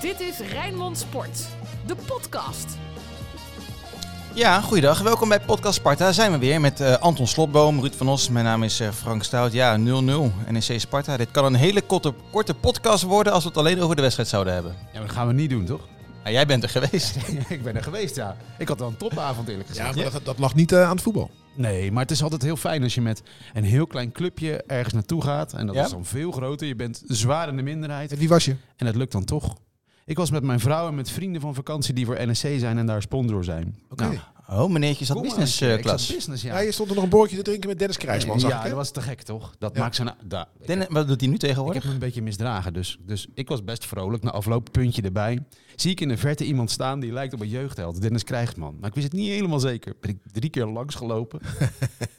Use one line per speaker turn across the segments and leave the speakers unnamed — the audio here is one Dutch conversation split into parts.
Dit is Rijnmond Sport, de podcast.
Ja, goeiedag. Welkom bij Podcast Sparta. Zijn we weer met eh, Anton Slotboom, Ruud van Os. Mijn naam is eh, Frank Stout. Ja, 0-0 NEC E Sparta. Dit kan een hele korte, korte podcast worden als we het alleen over de wedstrijd zouden hebben.
Ja, maar dat gaan we niet doen, toch?
Nou, jij bent er geweest.
ik ben er geweest, ja. Ik had wel een topavond, eerlijk
Ja,
gezegd.
maar dat, dat lag niet eh, aan het voetbal.
Nee, maar het is altijd heel fijn als je met een heel klein clubje ergens naartoe gaat. En dat
Ja?
is dan veel groter. Je bent zwaar in de minderheid.
En wie was je?
En het lukt dan toch. Ik was met mijn vrouw en met vrienden van vakantie die voor NSC zijn en daar sponsor zijn.
Oké.
Nou,
Oh, meneertje zat
kom maar,
business
ik
eh,
zat
klas.
business, ja.
Ja, je stond er nog een boordje te drinken met Dennis Krijgsman, zag
ja,
ik. hè?
dat was te gek, toch? Dat
Ja.
maakt zijn... da-
Den- wat doet hij nu
Ik heb
tegenwoordig?
me een beetje misdragen, dus, dus ik was best vrolijk. Na afloop, puntje erbij. Zie ik in de verte iemand staan die lijkt op een jeugdheld, Dennis Krijgsman. Maar ik wist het niet helemaal zeker. Ben ik drie keer langs gelopen.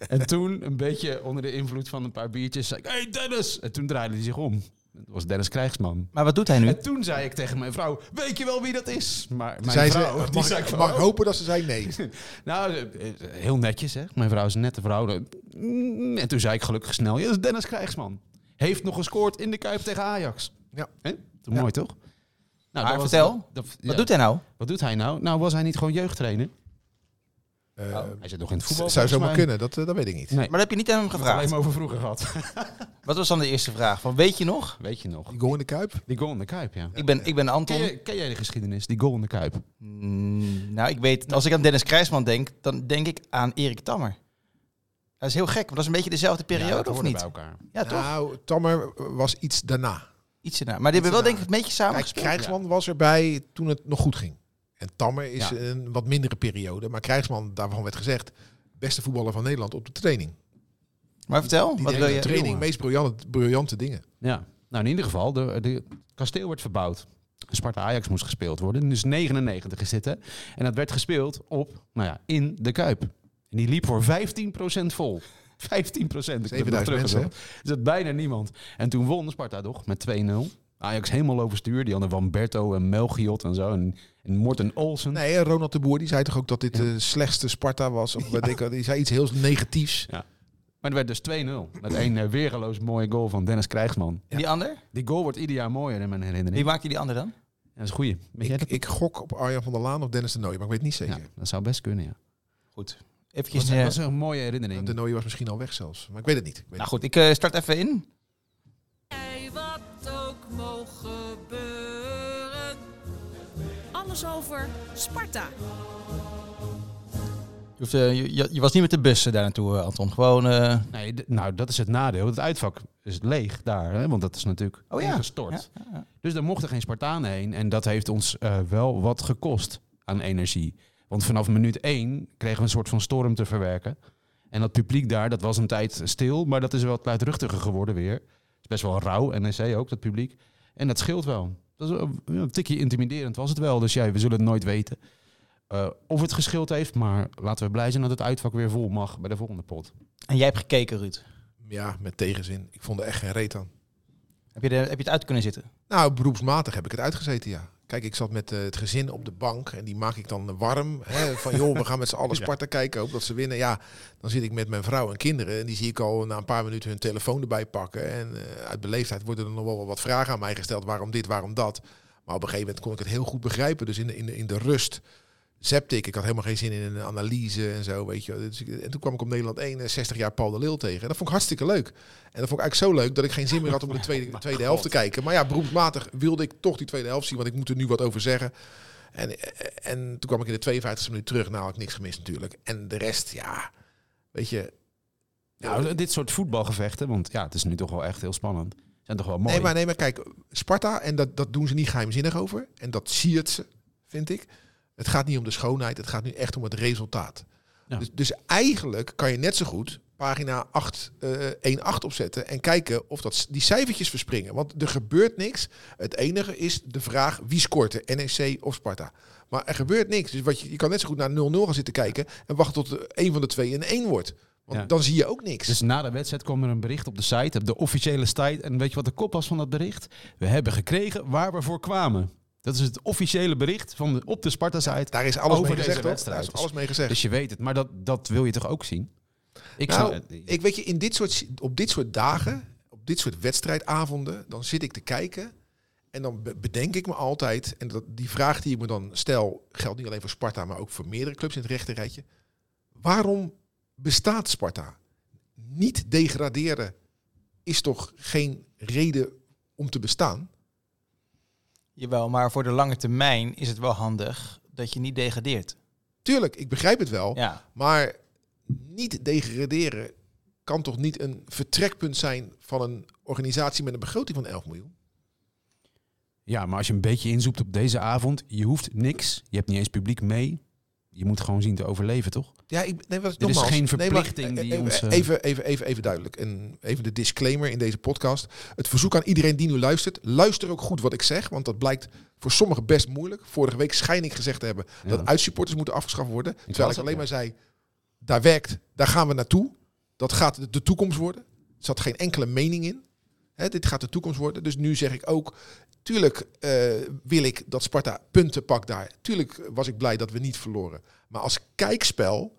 en toen, een beetje onder de invloed van een paar biertjes, zei ik... Hey Dennis! En toen draaide hij zich om. Het was Dennis Krijgsman.
Maar wat doet hij nu?
En toen zei ik tegen mijn vrouw, weet je wel wie dat is? Maar mijn
Zei ze, eh,
vrouw, die
mag,
zei
ik
van,
mag ik
"Oh."
hopen dat ze zei nee.
Nou, eh, eh, heel netjes hè. Mijn vrouw is een nette vrouw. Mm, En toen zei ik gelukkig snel, ja, dat is Dennis Krijgsman. Heeft nog gescoord in de Kuip tegen Ajax.
Ja.
Hè? Mooi toch?
Maar
Nou, dat was-
vertel,
dat- ja,
Wat doet hij nou?
wat doet hij nou? Nou, was hij niet gewoon jeugdtrainer?
Eh,
Hij zit nog in het
z-
Nou, voetbal.
zou
volgens mij.
zomaar
Nou.
kunnen, dat, eh, dat weet ik niet.
Nee,
Maar dat heb je niet aan hem
ik heb het alleen
gevraagd.
maar over vroeger gehad.
Wat was dan de eerste vraag? Van, weet je nog?
Weet je nog?
Die goal in de Kuip?
Die goal in de Kuip, ja.
Ik ben, ik ben
Ken
Anton.
jij, ken jij de geschiedenis? Die goal in de Kuip.
Mm, nou, ik weet, als ik aan Dennis Krijsman denk, dan denk ik aan Erik Tammer. Dat is heel gek, want dat is een beetje dezelfde
Ja, dat
periode, of
hoorde bij
niet?
elkaar.
Ja, toch?
Nou, Tammer was iets daarna.
Ah,
Iets ernaar. Maar die hebben wel denk ik een beetje samen
Kijk,
gespeeld.
Krijgsman was erbij toen het nog goed ging. En Tammer is
Ja.
een wat mindere periode. Maar Krijgsman, daarvan werd gezegd, beste voetballer van Nederland op de training.
Maar vertel,
Die
wat
deed
wil
op de
je?
training,
Jongen.
meest briljante, briljante dingen.
Ja, nou in ieder geval, de, de kasteel werd verbouwd. Sparta-Ajax moest gespeeld worden. Dus 99 is dit, hè? En dat werd gespeeld op, nou ja, in de Kuip. En die liep voor 15% vol. 15%. Ik heb het nog
7000 mensen, hè?
teruggezocht. Er zat bijna niemand. En toen won Sparta toch met 2-0. Ajax helemaal overstuur. Die hadden Van Berto en Melchiot en zo. En, en Morten Olsen.
Nee, en Ronald de Boer die zei toch ook dat dit
Hm. Ja.
de slechtste Sparta was. Of, weet ik wat, die zei iets heel negatiefs.
Maar het werd dus 2-0. Met een eh, weergeloos mooie goal van Dennis Krijgsman.
Die ander?
Die goal wordt ieder jaar mooier in mijn
Wie
herinnering.
maakte die ander dan?
Ja, dat is goeie. Weet jij
Ik,
dat?
ik gok op Arjan van der Laan of Dennis de Nooij, maar ik weet niet zeker.
Ja, dat zou best kunnen, ja.
Goed.
Dat
Even. eh,
was, was een mooie herinnering.
De Nooij was misschien al weg zelfs, maar ik weet het niet. Ik weet
nou goed, ik eh, start even in.
Bij wat ook mogen gebeuren. Alles over Sparta.
Je, hoeft, eh, je, je- je was niet met de bussen daar naartoe, eh, Anton. Gewoon. eh,
Nee, d- nou dat is het nadeel. Het uitvak is leeg daar, hè? want dat is natuurlijk
Oh ja.
ingestort. Dus daar mochten geen Spartanen heen en dat heeft ons eh, wel wat gekost aan energie. Want vanaf minuut één kregen we een soort van storm te verwerken. En dat publiek daar, dat was een tijd stil, maar dat is wel luidruchtiger geworden weer. Het is best wel rauw, NEC ook, dat publiek. En dat scheelt wel. Dat is een, een tikje intimiderend was het wel, dus ja, we zullen het nooit weten. eh, of het geschild heeft, maar laten we blij zijn dat het uitvak weer vol mag bij de volgende pot.
En jij hebt gekeken, Ruud.
niet. Ja, met tegenzin. Ik vond er echt geen reet aan.
Heb je, de, heb je het uit kunnen zitten?
Nou, beroepsmatig heb ik het uitgezeten, ja. Kijk, ik zat met eh, het gezin op de bank en die maak ik dan warm. Hè, van joh, we gaan met z'n allen Sparta kijken, hoop dat ze winnen. Ja, dan zit ik met mijn vrouw en kinderen en die zie ik al na een paar minuten hun telefoon erbij pakken. En eh, uit beleefdheid worden er nog wel wat vragen aan mij gesteld. Waarom dit, waarom dat? Maar op een gegeven moment kon ik het heel goed begrijpen. Dus in de, in de, in de rust zepte ik. Ik had helemaal geen zin in een analyse en zo, weet je. wel. Dus ik- en toen kwam ik op Nederland 1 en 60 jaar Paul de Leeuw tegen. En dat vond ik hartstikke leuk. En dat vond ik eigenlijk zo leuk dat ik geen zin meer had om de tweede, tweede helft te kijken. Maar ja, beroepsmatig wilde ik toch die tweede helft zien, want ik moet er nu wat over zeggen. En, en toen kwam ik in de 52e minuut terug. Nou, had ik niks gemist natuurlijk. En de rest, ja, weet je...
Nou, dit soort voetbalgevechten, want ja, het is nu toch wel echt heel spannend. Zijn toch wel mooi.
Nee, maar, nee, maar kijk, Sparta, en dat, dat doen ze niet geheimzinnig over. En dat zie het ze, vind ik. Het gaat niet om de schoonheid, het gaat nu echt om het resultaat.
Ja.
Dus, dus eigenlijk kan je net zo goed pagina 8, eh 1-8 opzetten en kijken of dat, die cijfertjes verspringen. Want er gebeurt niks. Het enige is de vraag wie scoort er, NEC of Sparta. Maar er gebeurt niks. Dus wat je, je kan net zo goed naar 0-0 gaan zitten kijken en wachten tot een van de twee een 1 wordt. Want
Ja.
dan zie je ook niks.
Dus na de wedstrijd kwam er een bericht op de site, op de officiële site. En weet je wat de kop was van dat bericht? We hebben gekregen waar we voor kwamen. Dat is het officiële bericht van de, op de Sparta-site.
daar is alles
Over
mee
deze
gezegd, hoor. Daar
wedstrijd.
is alles mee gezegd.
Dus je weet het, maar dat, dat wil je toch ook zien? Ik
Nou,
zou- eh,
Ik weet je, in dit soort, op dit soort dagen, op dit soort wedstrijdavonden, dan zit ik te kijken. En dan be- bedenk ik me altijd, en dat, die vraag die ik me dan stel, geldt niet alleen voor Sparta, maar ook voor meerdere clubs in het rechterrijtje. Waarom bestaat Sparta? Niet degraderen is toch geen reden om te bestaan?
Jawel, maar voor de lange termijn is het wel handig dat je niet degradeert.
Tuurlijk, ik begrijp het wel.
Ja.
Maar niet degraderen kan toch niet een vertrekpunt zijn van een organisatie met een begroting van 11 miljoen?
Ja, maar als je een beetje inzoekt op deze avond, je hoeft niks. Je hebt niet eens publiek mee. Je moet gewoon zien te overleven, toch?
Ja, ik, nee, wat,
Dit is
nogmaals,
geen
nee, maar-
verplichting die
eh, eh,
ons, eh,
Even, even, even, even duidelijk. En even de disclaimer in deze podcast. Het verzoek aan iedereen die nu luistert. Luister ook goed wat ik zeg. Want dat blijkt voor sommigen best moeilijk. Vorige week schijn ik gezegd te hebben
Ja.
dat uitsupporters moeten afgeschaft worden.
las
Terwijl ik
het,
alleen
ja.
maar zei, daar werkt, daar gaan we naartoe. Dat gaat de- de toekomst worden. Er zat geen enkele mening in. Hè, dit gaat de toekomst worden. Dus nu zeg ik ook, tuurlijk eh, wil ik dat Sparta punten pakt daar. Tuurlijk was ik blij dat we niet verloren. Maar als kijkspel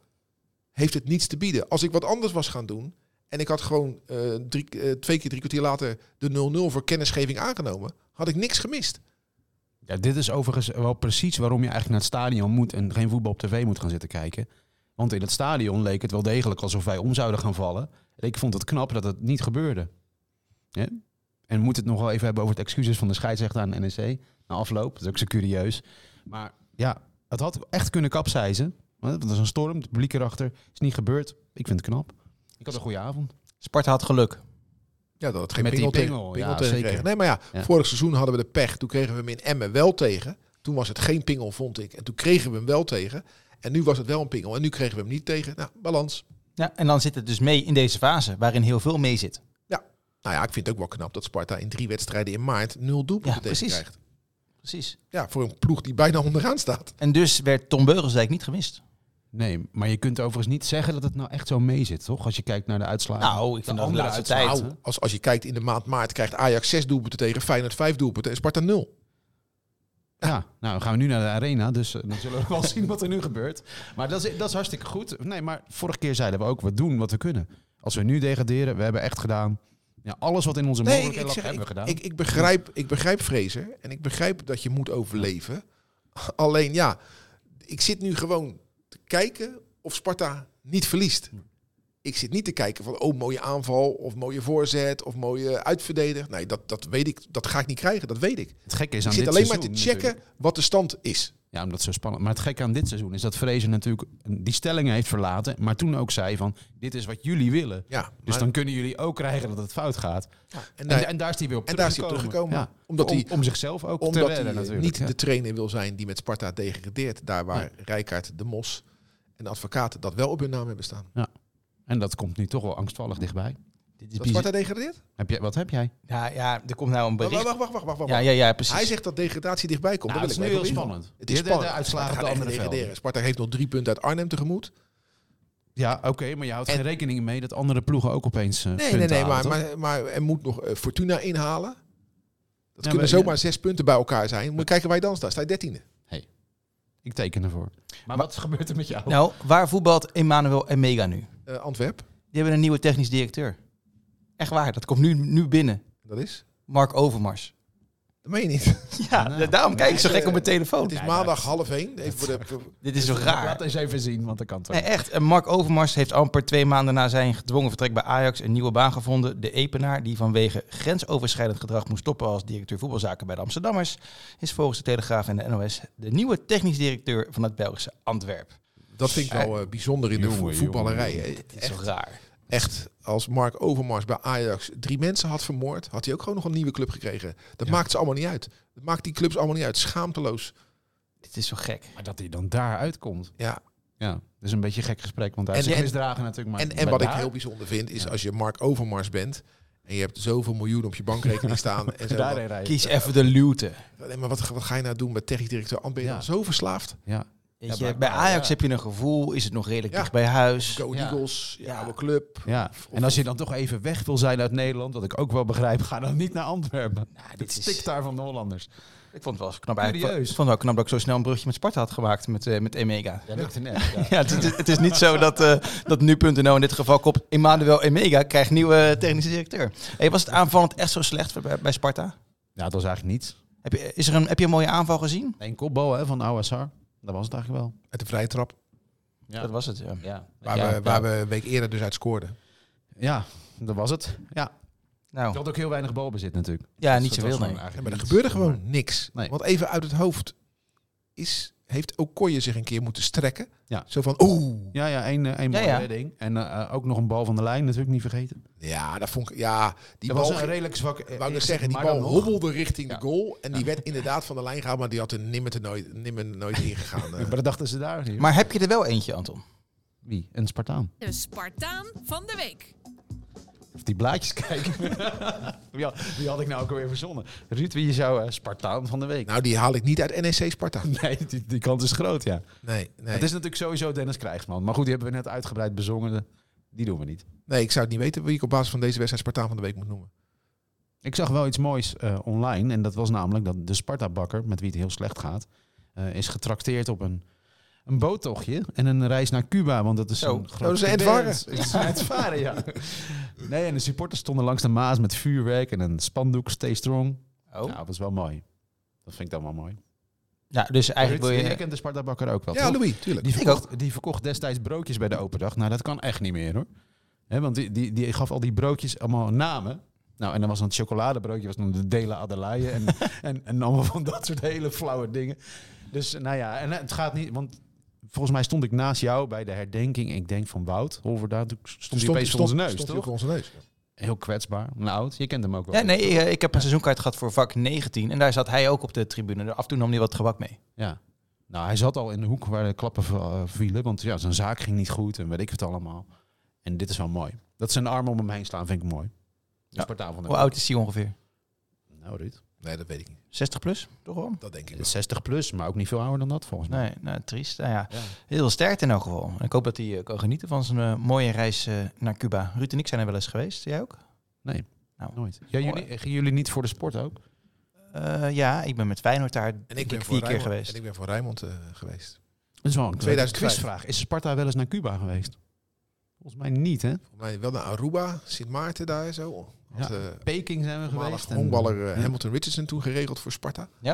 heeft het niets te bieden. Als ik wat anders was gaan doen en ik had gewoon eh, drie, eh, twee keer drie kwartier later de 0-0 voor kennisgeving aangenomen, had ik niks gemist.
Ja, dit is overigens wel precies waarom je eigenlijk naar het stadion moet en geen voetbal op tv moet gaan zitten kijken. Want in het stadion leek het wel degelijk alsof wij om zouden gaan vallen. En ik vond het knap dat het niet gebeurde. Ja? En we moeten het nog wel even hebben over het excuses van de scheidsrechter aan de NEC. Na afloop, dat is ook zo curieus. Maar ja, het had echt kunnen kapseizen. Want het was een storm, het publiek erachter. Is niet gebeurd. Ik vind het knap. Ik had een goede avond.
Sparta had geluk.
Ja, dat het geen
Met die
pingel tegen,
pingel,
pingel
ja,
tegen
zeker.
kregen. Nee, maar ja,
Ja.
vorig seizoen hadden we de pech. Toen kregen we hem in Emmen wel tegen. Toen was het geen pingel, vond ik. En toen kregen we hem wel tegen. En nu was het wel een pingel. En nu kregen we hem niet tegen. Nou, balans.
Ja, en dan zit het dus mee in deze fase, waarin heel veel mee zit.
Nou ja, ik vind het ook wel knap dat Sparta in drie wedstrijden in maart nul doelpunten
Ja,
tegen
precies.
krijgt.
Precies.
Ja, voor een ploeg die bijna onderaan staat.
En dus werd Tom Beugelsdijk niet gemist.
Nee, maar je kunt overigens niet zeggen dat het nou echt zo mee zit, toch? Als je kijkt naar de uitslagen.
Nou, ik vind dat de
andere
laatste tijd-
uitslagen.
Nou, Als, als je kijkt in de maand maart krijgt Ajax zes doelpunten tegen, Feyenoord vijf doelpunten en Sparta nul.
Ja, nou gaan we nu naar de arena, dus eh, dan zullen we wel zien wat er nu gebeurt. Maar dat is, dat is hartstikke goed. Nee, maar vorige keer zeiden we ook, we doen wat we kunnen. Als we nu degraderen, we hebben echt gedaan. Ja, alles wat in onze mogelijkheden lag, hebben we
ik,
gedaan.
ik, ik begrijp, ik begrijp Fraser en ik begrijp dat je moet overleven. Alleen ja, ik zit nu gewoon te kijken of Sparta niet verliest. Ik zit niet te kijken van, oh, mooie aanval of mooie voorzet of mooie uitverdediger. Nee, dat, dat weet ik, dat ga ik niet krijgen, dat weet ik.
het gekke is
Ik
aan
zit
dit
alleen maar te
seizoen
checken
natuurlijk-
wat de stand is.
Ja, omdat het zo spannend. Maar het gekke aan dit seizoen is dat Vrezen natuurlijk die stellingen heeft verlaten, maar toen ook zei van, dit is wat jullie willen.
Ja, maar-
Dus dan kunnen jullie ook krijgen dat het fout gaat.
en
En,
daar-
en, daar is hij weer op
en daar is hij
teruggekomen.
op teruggekomen.
Ja.
Omdat
om,
hij-
om zichzelf ook te
Omdat
redden
hij eh,
natuurlijk.
niet
ja.
de trainer wil zijn die met Sparta degradeert. Daar waar Rijkaard, De Mos en de advocaten dat wel op hun naam hebben staan.
En dat komt nu toch wel angstvallig dichtbij.
Dit
Is dat Sparta degradeert?
Heb jij, wat heb jij?
Ja, ja, er komt nou een
Wacht,
bericht.
wacht, wacht, wacht, wacht. wacht.
Ja, ja, ja, precies.
Hij zegt dat degradatie dichtbij komt.
Nou,
dat
het
wil
is
ik
nu
wel
heel
even
spannend.
zien. Het is
Hier de- de
spannend. eh,
uitslagen
Sparta
op de
gaat
andere
echt degraderen.
velden.
Sparta heeft nog drie punten uit Arnhem tegemoet.
Ja, oké, maar je houdt
En-
geen rekening mee dat andere ploegen ook opeens. eh,
Nee, nee,
punten
nee.
halen,
Maar,
toch?
maar, maar er moet nog eh, Fortuna inhalen. Dat
Ja,
kunnen
maar-
zomaar zes punten bij elkaar zijn. Moet je kijken waar je dan staat. Sta je dertiende?
Ik teken ervoor. Maar, wat gebeurt er met jou?
Nou, waar voetbalt Emmanuel en Mega nu?
Eh Antwerp.
Die hebben een nieuwe technisch directeur. Echt waar, dat komt nu, nu binnen.
Dat is.
Mark Overmars.
Dat meen je niet.
Ja,
Nou,
daarom kijk ik zo
eh,
gek op mijn telefoon.
Het is maandag half één. Even voor de, voor-
Dit is zo
Laat
raar.
eens even zien, want dat kan toch.
Nee, echt. En Mark Overmars heeft amper twee maanden na zijn gedwongen vertrek bij Ajax een nieuwe baan gevonden. De Epenaar, die vanwege grensoverschrijdend gedrag moest stoppen als directeur voetbalzaken bij de Amsterdammers, is volgens de Telegraaf en de NOS de nieuwe technisch directeur van het Belgische Antwerp.
dat vind ik wel eh, bijzonder in de
Jongen,
vo-
jongen,
voetballerij.
jongen.
Eh,
Dit is
Echt,
zo raar.
echt, als Mark Overmars bij Ajax drie mensen had vermoord, had hij ook gewoon nog een nieuwe club gekregen. Dat
Ja.
maakt ze allemaal niet uit. Dat maakt die clubs allemaal niet uit. Schaamteloos.
Dit is zo gek.
Maar dat hij dan daar uitkomt.
Ja,
Ja, dat is een beetje een gek gesprek, want hij is
En-
zich
en-
misdragen natuurlijk. Maar
en, en
maar
wat ik
daar-
heel bijzonder vind, is als je Mark Overmars bent en je hebt zoveel miljoen op je bankrekening staan. En zo,
daarheen rijdt.
Kies even de luwte.
wat- nee, maar wat, wat ga je nou doen met technisch directeur? Ant, ben je
Ja.
dan zo verslaafd?
Ja.
Weet
Ja,
je,
maar-
bij Ajax
ja.
heb je een gevoel, is het nog redelijk
Ja.
dicht bij huis.
Go
Ja.
Eagles, je
Ja.
oude club.
ja, en als je dan toch even weg wil zijn uit Nederland, wat ik ook wel begrijp, ga dan niet naar Antwerpen.
Nou,
Dit
dit
stikt
is,
daar van de Hollanders.
ik vond het wel eens knap. eigenlijk. Ik
Curieus.
vond het wel knap dat ik zo snel een brugje met Sparta had gemaakt met, eh, met Emega.
Ja, lukte net. Ja.
Ja, het, is- het is niet zo dat, eh, dat nu.nl in dit geval kopt. Emmanuel Emega krijgt nieuwe technische directeur. Hey, was het aanvallend echt zo slecht bij, bij Sparta?
ja, dat was eigenlijk niets.
Heb je, is er een, heb je een mooie aanval gezien?
Eén kopbal hè, van Ouassar. Dat was het eigenlijk wel.
Uit de vrije trap.
Ja,
Dat was het, ja.
ja.
Waar,
ja,
we, waar we een week eerder dus uit scoorden.
ja, dat was het. Ja.
Nou,
Je had ook heel weinig balbezit natuurlijk.
ja,
Dus
niet
dat
zoveel,
was
nee.
gewoon eigenlijk
Ja, maar er
niets,
gebeurde
zeg
gewoon
maar.
niks.
Nee.
Want even uit het hoofd is, heeft Okoye zich een keer moeten strekken.
Ja.
Zo van, oeh.
Ja, ja, één, eh, één
Ja,
mooie
ja.
redding. En eh, eh, ook nog een bal van de lijn, natuurlijk niet vergeten.
Ja, dat vond ik, ja, die
dat
bal,
was een
ging-
redelijk zwak... eh,
wou ik net
eerste,
zeggen, die
maar
bal
dan nog.
hobbelde richting
Ja.
de goal. En die werd inderdaad van de lijn gehaald, maar die had er nimmer, te nooit, nimmer nooit ingegaan. eh.
Maar dat dachten ze daar niet.
Maar heb je er wel eentje, Anton?
Wie? Een Spartaan.
De Spartaan van de week.
Of die blaadjes kijken. wie, had, wie had ik nou ook alweer verzonnen? Ruud, wie is jouw eh, Spartaan van de week?
nou, die haal ik niet uit NEC Sparta.
Nee, die, die kans is groot, ja.
Nee, nee.
Het is natuurlijk sowieso Dennis Krijgsman. Maar goed, die hebben we net uitgebreid bezongen. Die doen we niet.
nee, ik zou het niet weten wie ik op basis van deze wedstrijd Spartaan van de Week moet noemen.
Ik zag wel iets moois eh, online. En dat was namelijk dat de Sparta-bakker, met wie het heel slecht gaat, eh, is getrakteerd op een, een boottochtje en een reis naar Cuba. Want dat is
Zo. oh,
een groot...
dat is een
event.
Edvaren.
Het is een Edvaren, ja. Nee, en de supporters stonden langs de Maas met vuurwerk en een spandoek, stay strong.
Oh.
Ja, dat is wel mooi. Dat vind ik dan wel mooi.
Ja, dus eigenlijk wil
Ruud, jij
je...
kent de Sparta-bakker ook wel,
Ja,
toch?
Louis, tuurlijk.
Die
Ik
verkocht, die verkocht destijds broodjes bij de open dag. Nou, dat kan echt niet meer hoor. Hè, want die, die, die gaf al die broodjes allemaal namen. Nou, en dan was dan het chocoladebroodje, was dan de Dela Adelaide. En, en, en allemaal van dat soort hele flauwe dingen. Dus nou ja, en het gaat niet, want volgens mij stond ik naast jou bij de herdenking. Ik denk van Wout, Holverda, toen stond hij opeens voor onze neus,
stond hij
toch?
voor onze neus.
Heel kwetsbaar, een oud. Je kent hem ook wel.
Ja, nee, eh, ik heb een seizoenkaart gehad voor vak 19 en daar zat hij ook op de tribune. Af en toe nam hij wat gebak mee.
Ja. Nou, hij zat al in de hoek waar de klappen v- eh, vielen. Want ja, zijn zaak ging niet goed en weet ik het allemaal. En dit is wel mooi. Dat zijn armen om hem heen slaan vind ik mooi. De
Ja.
Spartaan van de
Hoe oud is hij ongeveer?
Week. Nou, Ruud.
Nee, dat weet ik niet.
60 plus, toch wel?
Dat denk ik wel.
60 plus, maar ook niet veel ouder dan dat volgens mij.
Nee, nou, triest. Nou ja,
Ja.
heel veel sterkte in elk geval. En ik hoop dat hij eh, kan genieten van zijn eh, mooie reis eh, naar Cuba. Ruud en ik zijn er wel eens geweest. Jij ook?
Nooit. Ja, jullie, eh, gingen jullie niet voor de sport ook?
Eh, ja, ik ben met Feyenoord daar
En ik
denk
ben voor
vier keer
Rijnmond-
geweest.
En ik ben voor Rijnmond eh, geweest.
Dat is wel een
2005.
quizvraag. Is Sparta wel eens naar Cuba geweest? Volgens mij niet, hè?
Volgens mij wel naar Aruba, Sint Maarten daar zo. Had,
Ja.
eh,
Peking zijn we
voormalig
geweest. en-
honkballer eh,
Ja.
Hamilton Richardson toen geregeld voor Sparta.
Ja.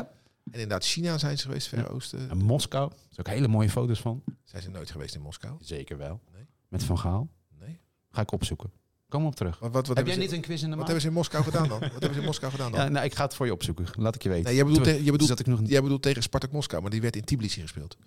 En inderdaad, China zijn ze geweest, Verre
Ja.
Oosten.
En Moskou. Er zijn ook hele mooie foto's van.
Zijn ze nooit geweest in Moskou?
Zeker wel.
Nee.
Met Van Gaal.
Nee.
Ga ik opzoeken. Kom op terug.
Maar wat, wat,
Heb
hebben,
jij
ze,
niet een quiz in de
wat
maand?
hebben ze in Moskou gedaan dan? Wat hebben ze in Moskou gedaan dan?
Ja, nou, ik ga het voor je opzoeken. Laat ik je weten.
nee, jij bedoelt,
Toen-
tegen- jij, bedoelt,
zat ik nog niet.
jij bedoelt tegen Spartak Moskou, maar die werd in Tbilisi gespeeld.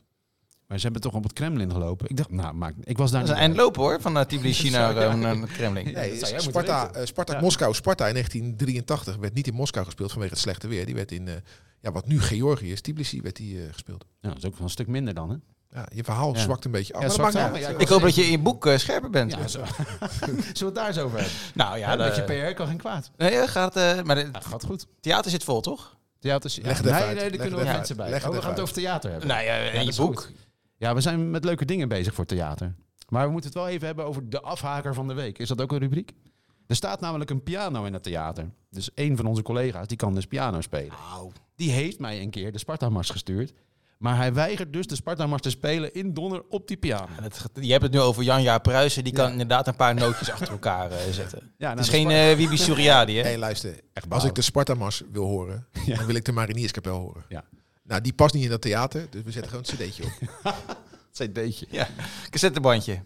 Maar ze hebben toch op het Kremlin gelopen. Ik dacht, nou, maak, ik was daar
Dat is een
niet bij.
eindloop hoor, van eh, Tbilisi naar, eh, naar het Kremlin.
Ja, dat
Nee,
zou jij moeten
Sparta,
weten.
eh, Spartak
Ja.
Moskou, Sparta in 1983 werd niet in Moskou gespeeld vanwege het slechte weer. Die werd in, eh, ja, wat nu Georgië is, Tbilisi werd die eh, gespeeld.
Ja, dat is ook wel een stuk minder dan, hè?
Ja, je verhaal
Ja.
zwakt een beetje af. maar dat
zwakt
maakt niet
af,
uit.
maar ja,
Ik hoop dat je in je boek eh, scherper bent.
Ja, zo. Zullen we het daar eens over hebben?
Nou ja,
Ja,
dat
Een beetje PR kan geen kwaad.
Nee, eh, gaat, eh, maar het
Ja, gaat goed.
theater zit vol, toch?
Ja, het is, ja,
Leg het
nee,
even
nee,
uit.
daar
Leg
kunnen
het
wel
even
mensen
uit.
bij.
Leg het
Oh, we
even
gaan het
uit.
over theater hebben.
Nou ja,
Ja,
in
dat
je
is
boek.
goed. Ja, we zijn met leuke dingen bezig voor theater. Maar we moeten het wel even hebben over de afhaker van de week. Is dat ook een rubriek? Er staat namelijk een piano in het theater. Dus een van onze collega's, die kan dus piano spelen. Die heeft mij een keer de Sparta-mars gestuurd. Maar hij weigert dus de Sparta-mars te spelen in Donner op die piano.
En het ge- je hebt het nu over Janja Pruisen. Die kan inderdaad een paar nootjes achter elkaar eh, zetten.
Ja, nou,
het is
de
geen
Sparta-
eh Wibi Suriadi, hè?
Hey, luister. Als
balen.
ik de Spartamars wil horen, dan wil ik de Marinierskapel horen.
Ja.
Nou, die past niet in dat theater, dus we zetten gewoon een cd'tje op.
cd'tje.
Ja, cassettebandje.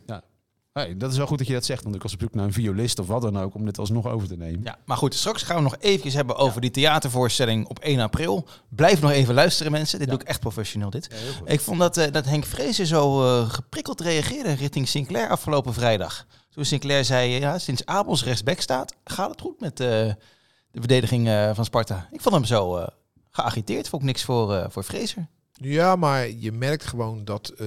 Hey, dat is wel goed dat je dat zegt, want ik was op zoek naar een violist of wat dan ook om dit alsnog over te nemen.
Ja, maar goed, straks gaan we nog eventjes hebben over die theatervoorstelling op 1 april. Blijf nog even luisteren, mensen. Dit doe ik echt professioneel, dit. ik vond dat, eh, dat Henk Vrezen zo eh, geprikkeld reageerde richting Sinclair afgelopen vrijdag. Toen Sinclair zei, eh, ja, sinds Abels rechtsback staat, gaat het goed met eh, de verdediging eh, van Sparta. Ik vond hem zo eh, geagiteerd. Vond ik niks voor, eh voor Vrezer.
Ja, maar je merkt gewoon dat eh,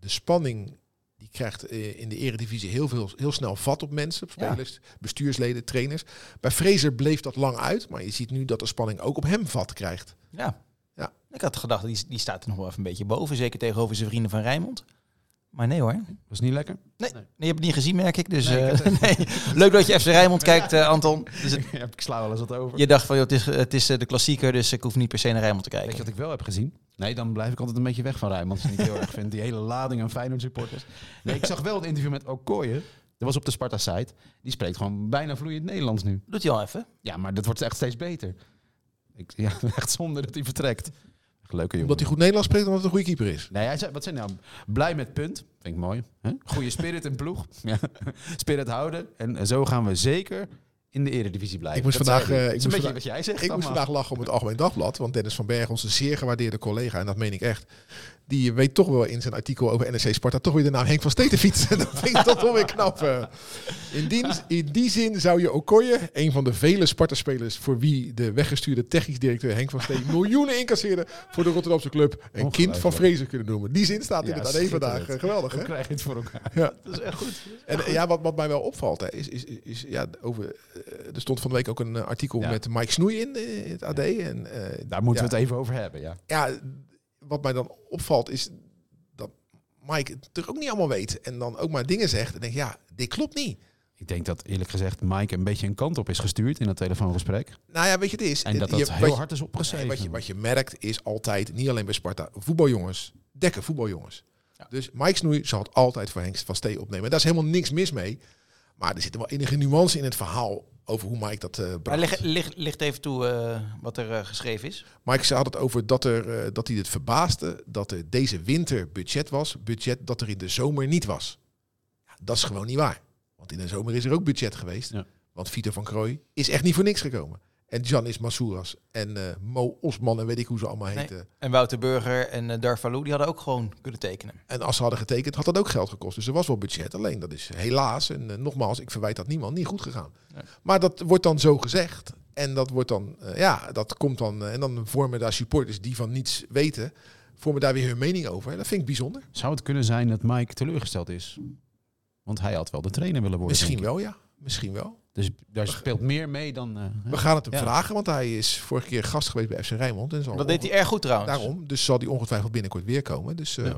de spanning die krijgt eh, in de eredivisie heel, veel, heel snel vat op mensen, op
Ja.
spelers, bestuursleden, trainers. Bij Fraser bleef dat lang uit, maar je ziet nu dat de spanning ook op hem vat krijgt.
Ja.
Ja.
Ik had gedacht, die, die staat er nog wel even een beetje boven. Zeker tegenover zijn vrienden van Rijnmond. Maar nee hoor.
Was niet lekker?
Nee,
Nee.
je hebt het niet gezien, merk ik. Dus,
Nee, ik
eh,
heb het
nee. Leuk dat je FC Rijnmond kijkt, eh, Anton. Dus het-
ik sla wel eens wat over.
je dacht van, joh, het, is, het is eh, de klassieker, dus ik hoef niet per se naar Rijnmond te
Weet je
kijken.
wat ik wel heb gezien? Nee, dan blijf ik altijd een beetje weg van Rijnmond. Als ik het niet heel erg vind. Die hele lading aan Feyenoord supporters. Nee, ik zag wel het interview met Okoye. Dat was op de Sparta-site. Die spreekt gewoon bijna vloeiend Nederlands nu.
Doet hij al even.
Ja, maar dat wordt echt steeds beter. Ik, ja, echt zonde dat hij vertrekt. Echt leuke jongen.
Omdat hij goed Nederlands spreekt, omdat het een goede keeper is.
Nee, hij zei, wat zijn nou? Blij met punt. Vind ik mooi. Hè? Goede spirit en ploeg. Ja. Spirit houden. En eh, zo gaan we zeker in de eredivisie blijven.
Ik moest
Dat
vandaag,
zei hij.
eh, ik
Het is een
moest
beetje wat
vandaag-
jij zegt
Ik moest
allemaal.
vandaag lachen om het Algemeen Dagblad. Want Dennis van Berg, onze zeer gewaardeerde collega, en dat meen ik echt. Die weet toch wel in zijn artikel over NEC Sparta toch weer de naam Henk van Steten fietsen. dat vind ik toch wel weer knap. eh. In die, in die zin zou je Okoye, een van de vele Sparta-spelers... voor wie de weggestuurde technisch directeur Henk van Steen miljoenen incasseerde... voor de Rotterdamse club een kind van
Ongelooflijk.
vrezen kunnen noemen. Die zin staat
Ja,
inderdaad één vandaag.
schitterend.
Eh, Geweldig, hè?
Hoe krijg je het voor elkaar?
Ja.
Dat is echt goed.
En eh, ja, wat, wat mij wel opvalt, hè, is, is, is, is- ja, over, eh, er stond van de week ook een eh, artikel
Ja.
met Mike Snoei in eh, het AD. En, eh,
Daar moeten
ja,
we het even over hebben, ja.
Ja, wat mij dan opvalt is dat Mike het er ook niet allemaal weet. En dan ook maar dingen zegt en denk ja, dit klopt niet.
Ik denk dat eerlijk gezegd Mike een beetje een kant op is gestuurd in dat telefoongesprek.
Nou ja, weet je, het is.
En dat
Je-
dat
wat
heel
je-
hard is opgeschreven.
Nee, wat, je, wat je merkt is altijd, niet alleen bij Sparta, voetbaljongens, dekken voetbaljongens. Dus Mike Snoei zal het altijd voor Henk van Stee opnemen. Daar is helemaal niks mis mee. Maar er zit wel enige nuance in het verhaal over hoe Mike dat eh
Maar
bracht.
ligt ligt even toe eh, wat er eh, geschreven is.
Mike ze had het over dat, er, eh, dat hij het verbaasde dat er deze winter budget was. Budget dat er in de zomer niet was. Ja, dat is gewoon niet waar. Want in de zomer is er ook budget geweest.
Ja.
Want Vito van Krooi is echt niet voor niks gekomen. En Janis Massouras en eh, Mo Osman en weet ik hoe ze allemaal heten.
En Wouter Burger en eh, Darfalou, die hadden ook gewoon kunnen tekenen.
En als ze hadden getekend, had dat ook geld gekost. Dus er was wel budget. Alleen dat is helaas, en eh, nogmaals, ik verwijt dat niemand, niet goed gegaan.
Nee.
Maar dat wordt dan zo gezegd. En dat wordt dan, eh, ja, dat komt dan. eh, en dan vormen daar supporters die van niets weten, vormen daar weer hun mening over. En dat vind ik bijzonder.
Zou het kunnen zijn dat Mike teleurgesteld is? Want hij had wel de trainer willen worden.
Misschien
denk ik.
wel, ja. Misschien wel.
Dus daar speelt meer mee dan... eh, hè?
We gaan het hem
Ja.
vragen, want hij is vorige keer gast geweest bij FC Rijnmond. En zal
Dat deed hij erg goed trouwens.
Daarom, dus zal die ongetwijfeld binnenkort weer komen. Dus eh,
Ja.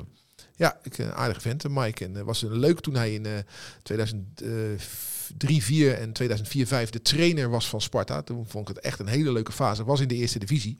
ja. ik een aardige vent, eh, Mike. En eh, was een leuk toen hij in eh 2003, 4 en 2004, 5 de trainer was van Sparta. Toen vond ik het echt een hele leuke fase. Was in de eerste divisie.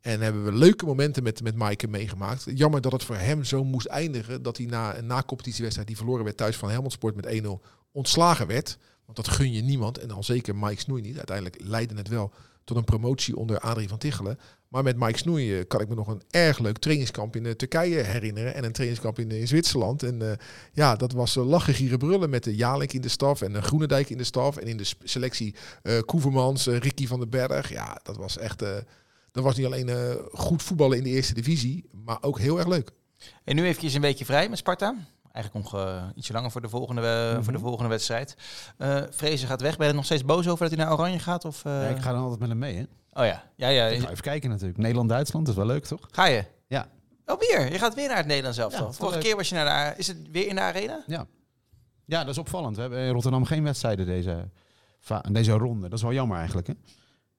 En hebben we leuke momenten met, met Maaike meegemaakt. Jammer dat het voor hem zo moest eindigen. Dat hij na een na-competitiewedstrijd die verloren werd thuis van Helmond Sport met 1-0 ontslagen werd. Want dat gun je niemand. En al zeker Mike Snoei niet. Uiteindelijk leidde het wel tot een promotie onder Adrie van Tichelen. Maar met Mike Snoei eh, kan ik me nog een erg leuk trainingskamp in eh, Turkije herinneren. En een trainingskamp in, eh, in Zwitserland. En eh, ja, dat was eh, lachen, gieren, brullen met de Jalink in de staf. En de Groenendijk in de staf. En in de sp- selectie eh Koevermans, eh, Ricky van den Berg. Ja, dat was echt... eh, dat was niet alleen eh, goed voetballen in de eerste divisie, maar ook heel erg leuk.
En nu eventjes een weekje vrij met Sparta. Eigenlijk nog eh, ietsje langer voor de volgende, eh, voor
Mhm.
de volgende wedstrijd. Eh Vrezen gaat weg. Ben je er nog steeds boos over dat hij naar Oranje gaat? Of, eh?
Ja, ik ga dan altijd met hem mee, hè?
Oh ja. Ja, ja.
Ik ga even kijken natuurlijk. Nederland-Duitsland, dat is wel leuk, toch?
Ga je?
Ja.
Oh, weer. Je gaat weer naar het Nederlands
Ja,
elftal.
dat is wel
Vorige
leuk.
keer was je naar de... a- Is het weer in de arena?
Ja. Ja, dat is opvallend. We hebben in Rotterdam geen wedstrijden deze, va- deze ronde. Dat is wel jammer eigenlijk, hè?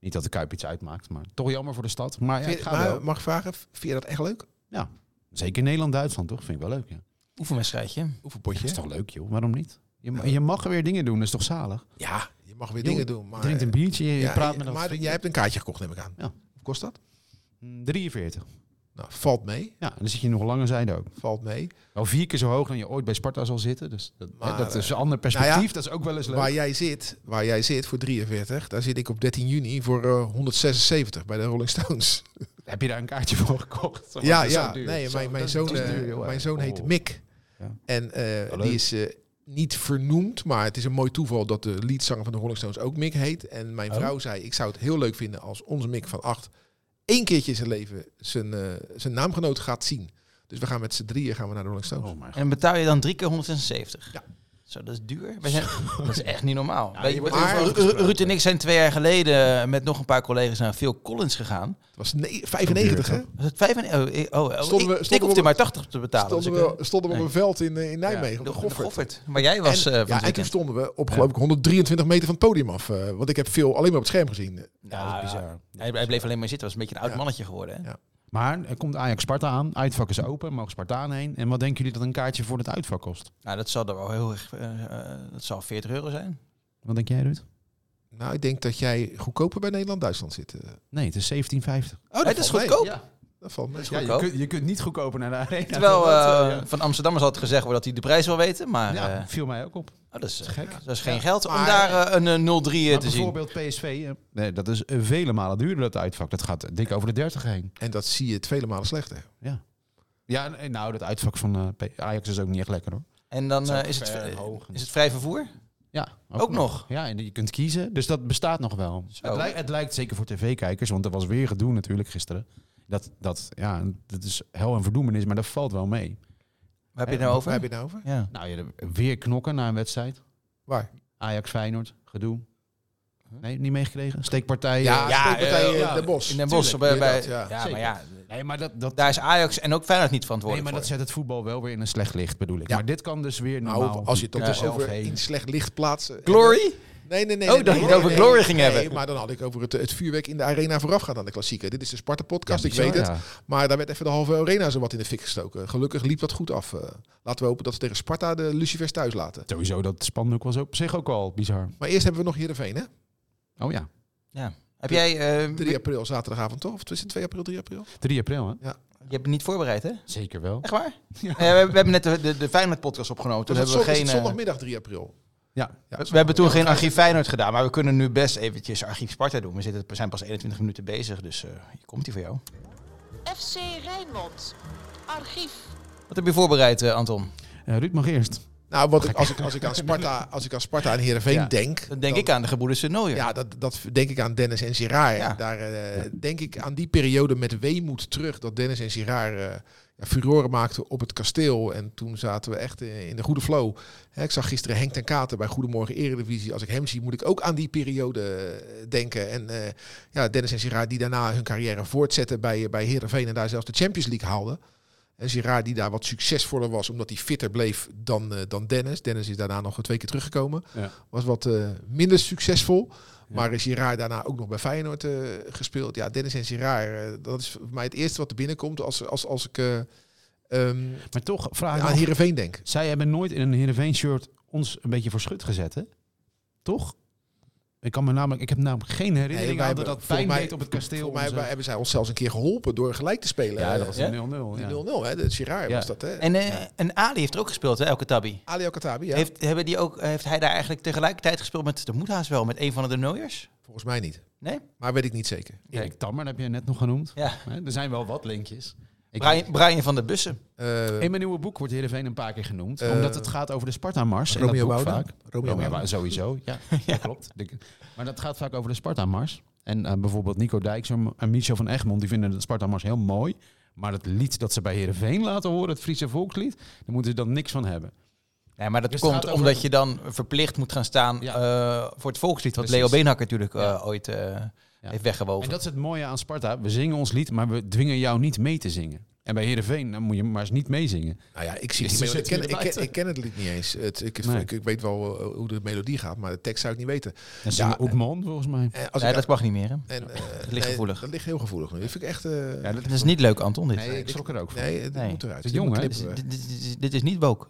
Niet dat de Kuip iets uitmaakt, maar toch jammer voor de stad. Maar ja,
Vind
ik
je-
ga
maar
wel.
mag ik vragen, vind je dat echt leuk?
Ja. Zeker Nederland-Duitsland, toch? Vind ik wel leuk, ja.
Oefenwedstrijdje.
Hoeveel
Dat is
potje?
toch leuk, joh? Waarom niet? Je, ma- je mag weer dingen doen, dat is toch zalig?
Ja, je mag
Jongen,
weer dingen doen. Maar, eh,
Je drinkt een biertje, je
Ja,
praat met een
Maar
vriend.
jij hebt een kaartje gekocht, neem ik aan.
Ja.
Hoe kost dat?
Mm, 43.
Nou, valt mee.
Ja, en dan zit je nog langer zijde ook.
Valt mee.
Wel vier keer zo hoog dan je ooit bij Sparta zal zitten. Dus dat, hè,
Maar,
dat is
eh,
een ander perspectief. dat is ook wel eens leuk.
Waar jij, zit, waar jij zit voor 43, daar zit ik op 13 juni voor eh, 176 bij de Rolling Stones.
Heb je daar een kaartje voor gekocht? Zo,
ja,
dat is zo
ja.
duur.
Nee,
Zo,
mijn, mijn,
dat is
zoon,
duur,
eh,
joh, eigenlijk.
mijn zoon heet
Oh.
Mick.
Ja.
En eh,
Wel leuk.
die is eh, niet vernoemd, maar het is een mooi toeval dat de leadzanger van de Rolling Stones ook Mick heet. En mijn
Oh.
vrouw zei, ik zou het heel leuk vinden als onze Mick van 8 één keertje in zijn leven zijn, eh, zijn naamgenoot gaat zien. Dus we gaan met z'n drieën gaan we naar de Rolling Stones.
Oh mijn god.
En betaal je dan drie keer 176?
Ja.
Zo, dat is duur. Wij zijn- dat is echt niet normaal.
Ja,
Wij-
je wordt
maar
overal
Ru- Ru- Ruud en ik zijn twee jaar geleden met nog een paar collega's naar Phil Collins gegaan.
Het was ne- 95, hè?
Was het vijf en... Oh, ik- oh, oh,
Stonden we-
ik, ik
stonden
hoefde
we-
maar 80 te betalen.
Stonden
dus ik, eh,
we, stonden we op een veld in, eh, in Nijmegen,
Ja,
op
de
de Goffert.
Goffert. Maar jij was
en,
eh, van
ja,
het
en toen
weekend.
stonden we op
Ja.
geloof ik 123 meter van het podium af. eh, want ik heb veel alleen maar op het scherm gezien.
Ja, dat is bizar.
Hij, hij bleef alleen maar zitten. was een beetje een oud
Ja.
mannetje geworden. Hè?
Ja.
Maar er komt Ajax Sparta aan. Uitvak is open, mogen Spartaan heen. En wat denken jullie dat een kaartje voor het uitvak kost?
Nou, dat zal er wel heel erg... eh, eh, dat zal 40 euro
Oh,
zijn.
Wat denk jij, Ruud?
Nou, ik denk dat jij goedkoper bij Nederland-Duitsland zit. eh.
Nee, het is 17,50.
Oh,
Hey, dat is
valt mee.
goedkoop.
Ja.
Dat valt mee.
Ja, je,
goedkoop.
kunt, je kunt niet goedkoper naar de arena.
Terwijl
Dat, eh,
eh, van Amsterdammers had gezegd worden dat hij de prijs wil weten. Maar
ja,
eh,
ja, viel mij ook op.
oh, dat, is, eh,
Gek.
dat is geen geld om
Maar-
daar eh, een eh, 0-3 eh,
Maar
te zien.
bijvoorbeeld PSV, eh, nee, dat is eh, vele malen duurder dat uitvak. Dat gaat eh, dik over de 30 heen.
En dat zie je het vele malen slechter.
Ja. Ja, en- en nou, dat uitvak van eh, P- Ajax is ook niet echt lekker hoor.
En dan
Het is
eh,
ook
is, het,
ver en
eh,
hoog.
is het vrij vervoer.
Ja, nou,
Ook nog.
Ja, en je kunt kiezen. Dus dat bestaat nog wel. Het, lijkt- het lijkt zeker voor tv-kijkers, want er was weer gedoe natuurlijk gisteren. Dat, dat, ja, dat is hel en verdoemenis, maar dat valt wel mee.
Waar heb je het
Eh,
nou over?
Waar heb je het nou over?
Ja.
Nou, je, weer knokken na een wedstrijd.
Waar?
Ajax-Feyenoord, gedoe. Nee, niet meegekregen? Steekpartijen.
Ja,
ja,
steekpartij
eh,
in
ja.
Den Bosch.
In Den Bosch.
tuurlijk,
Bij, bij,
inderdaad,
ja,
ja.
maar
Zeker.
ja,
Nee, maar dat, dat,
daar is Ajax en ook Feyenoord niet
nee,
verantwoordelijk
maar dat
voor.
zet het voetbal wel weer in een slecht licht, bedoel ik.
Ja.
Maar dit kan dus weer
Nou,
normaal.
als je het
door
toch
Ja,
dus
zelf
over
heen.
in slecht licht plaatsen.
Glory?
Nee, nee, nee.
Oh,
nee,
dat
nee,
je het
nee,
over
nee,
Glory
nee,
ging
nee,
hebben.
maar dan had ik over het, eh, het vuurwerk in de arena vooraf gaan aan de klassieker. Dit is de Sparta
Ja,
podcast,
bizar,
ik weet het.
ja.
Maar daar werd even de halve arena zo wat in de fik gestoken. Gelukkig liep dat goed af. eh. laten we hopen dat ze tegen Sparta de lucifers thuis laten.
Sowieso, dat spandoek was op zich ook al bizar.
Maar eerst hebben we nog Heerenveen,
Mm-hmm.
hè?
Oh ja,
Heb jij... eh,
3 april, zaterdagavond toch? Of is het 2 april, 3 april?
3 april hè?
je hebt het niet voorbereid, hè?
Zeker wel.
Echt waar? Eh, we, we hebben net de, de, de Feyenoord-podcast opgenomen. Toen
Dus
hebben
hebben
we
is
geen...
het
eh,
zondagmiddag 3 april.
Ja,
Ja,
We, we hebben toen geen archief Feyenoord gedaan, maar we kunnen nu best eventjes archief Sparta doen. We zitten, we zijn pas 21 minuten bezig, dus eh, hier komt hij voor jou.
FC Rijnmond. Archief.
Wat heb je voorbereid, eh, Anton?
Eh, Ruud mag eerst.
Nou, wat ik, als, ik, als, ik aan Sparta, als ik aan Sparta en Heerenveen
Ja.
denk...
Dan denk
dan-
ik aan de gebroeders Nooier.
Ja, dat, dat denk ik aan Dennis en Girard.
Ja.
Daar eh, denk ik aan die periode met weemoed terug dat Dennis en Girard eh, ja, furoren maakten op het kasteel. En toen zaten we echt eh, in de goede flow. Hè, ik zag gisteren Henk ten Katen bij Goedemorgen Eredivisie. Als ik hem zie, moet ik ook aan die periode eh, denken. En eh, ja, Dennis en Girard die daarna hun carrière voortzetten bij, eh, bij Heerenveen en daar zelfs de Champions League haalden. En Girard die daar wat succesvoller was, omdat hij fitter bleef dan, eh, dan Dennis. Dennis is daarna nog twee keer teruggekomen.
Ja.
Was wat eh, minder succesvol. Maar is Girard daarna ook nog bij Feyenoord eh, gespeeld. Ja, Dennis en Girard, eh, dat is voor mij het eerste wat er binnenkomt als, als, als ik eh, ehm,
Maar toch, vraag ik me
aan
af,
Heerenveen denk.
Zij hebben nooit in een Heerenveen-shirt ons een beetje voor schut gezet, hè? Toch? Ik, kan me namelijk, ik heb namelijk geen herinnering
wij
aan dat
hebben-
dat pijn
volgens mij-
deed op het kasteel.
Volgens mij
onze-
hebben- hebben zij ons zelfs een keer geholpen door gelijk te spelen.
ja,
Eh,
dat was
Ja?
een 0-0.
die
Ja.
0-0, hè? De Girard
Ja.
was dat, hè?
En, eh, en Ali heeft er ook gespeeld, hè, Elke Tabby.
Ali Al-Khattabi, ja.
Heeft, hebben die ook, heeft hij daar eigenlijk tegelijkertijd gespeeld met, dat moet haast wel, met een van de Nooiers?
Volgens mij niet.
Nee?
Maar weet ik niet zeker.
Erik Tammer heb je net nog genoemd.
Ja.
Hè, Er zijn wel wat linkjes. Ik
Brian, Brian van de Bussen.
Eh,
in mijn nieuwe boek wordt Heerenveen een paar keer genoemd.
Eh,
omdat het gaat over de Sparta-mars. en dat
Romeo
boek
Wouda.
vaak.
Romeo
Romeo
Wouda.
Wouda, sowieso. Ja, dat klopt. De- Maar dat gaat vaak over de Sparta-mars. En eh, bijvoorbeeld Nico Dijks en en Michel van Egmond... die vinden de Sparta-mars heel mooi. Maar het lied dat ze bij Heerenveen laten horen... het Friese volkslied... daar moeten ze dan niks van hebben.
Nee, maar dat
Dus het
komt
gaat over-
omdat je dan verplicht moet gaan staan
Ja.
eh, voor het volkslied, wat
Precies.
Leo Beenhakker natuurlijk eh,
Ja.
ooit eh, heeft weggewoven.
En dat is het mooie aan Sparta. We zingen ons lied, maar we dwingen jou niet mee te zingen. En bij Heerenveen, dan moet je maar eens niet meezingen.
nou ja, ik zie
Is
die
er
melodie- ik,
zit
ken,
hier
ik, ken,
buiten.
ik ken het lied niet eens. Het, ik,
Nee.
ik, ik weet wel eh, hoe de melodie gaat, maar de tekst zou ik niet weten.
Dat is
Ja,
ook man, volgens mij.
En als
nee,
ik-
dat mag niet meer. Hè?
en, eh,
ligt
nee,
gevoelig.
Dat ligt heel gevoelig nu. Dat vind ik echt... eh,
Ja, dat
Dat is niet leuk, Anton, dit.
Nee,
Nee,
ik
dit-
schrok er ook van.
Nee, dit
Nee.
moet eruit.
De
Dit moet
jongen, hè?
Dit,
knippen we.
is- dit is- dit is niet woke.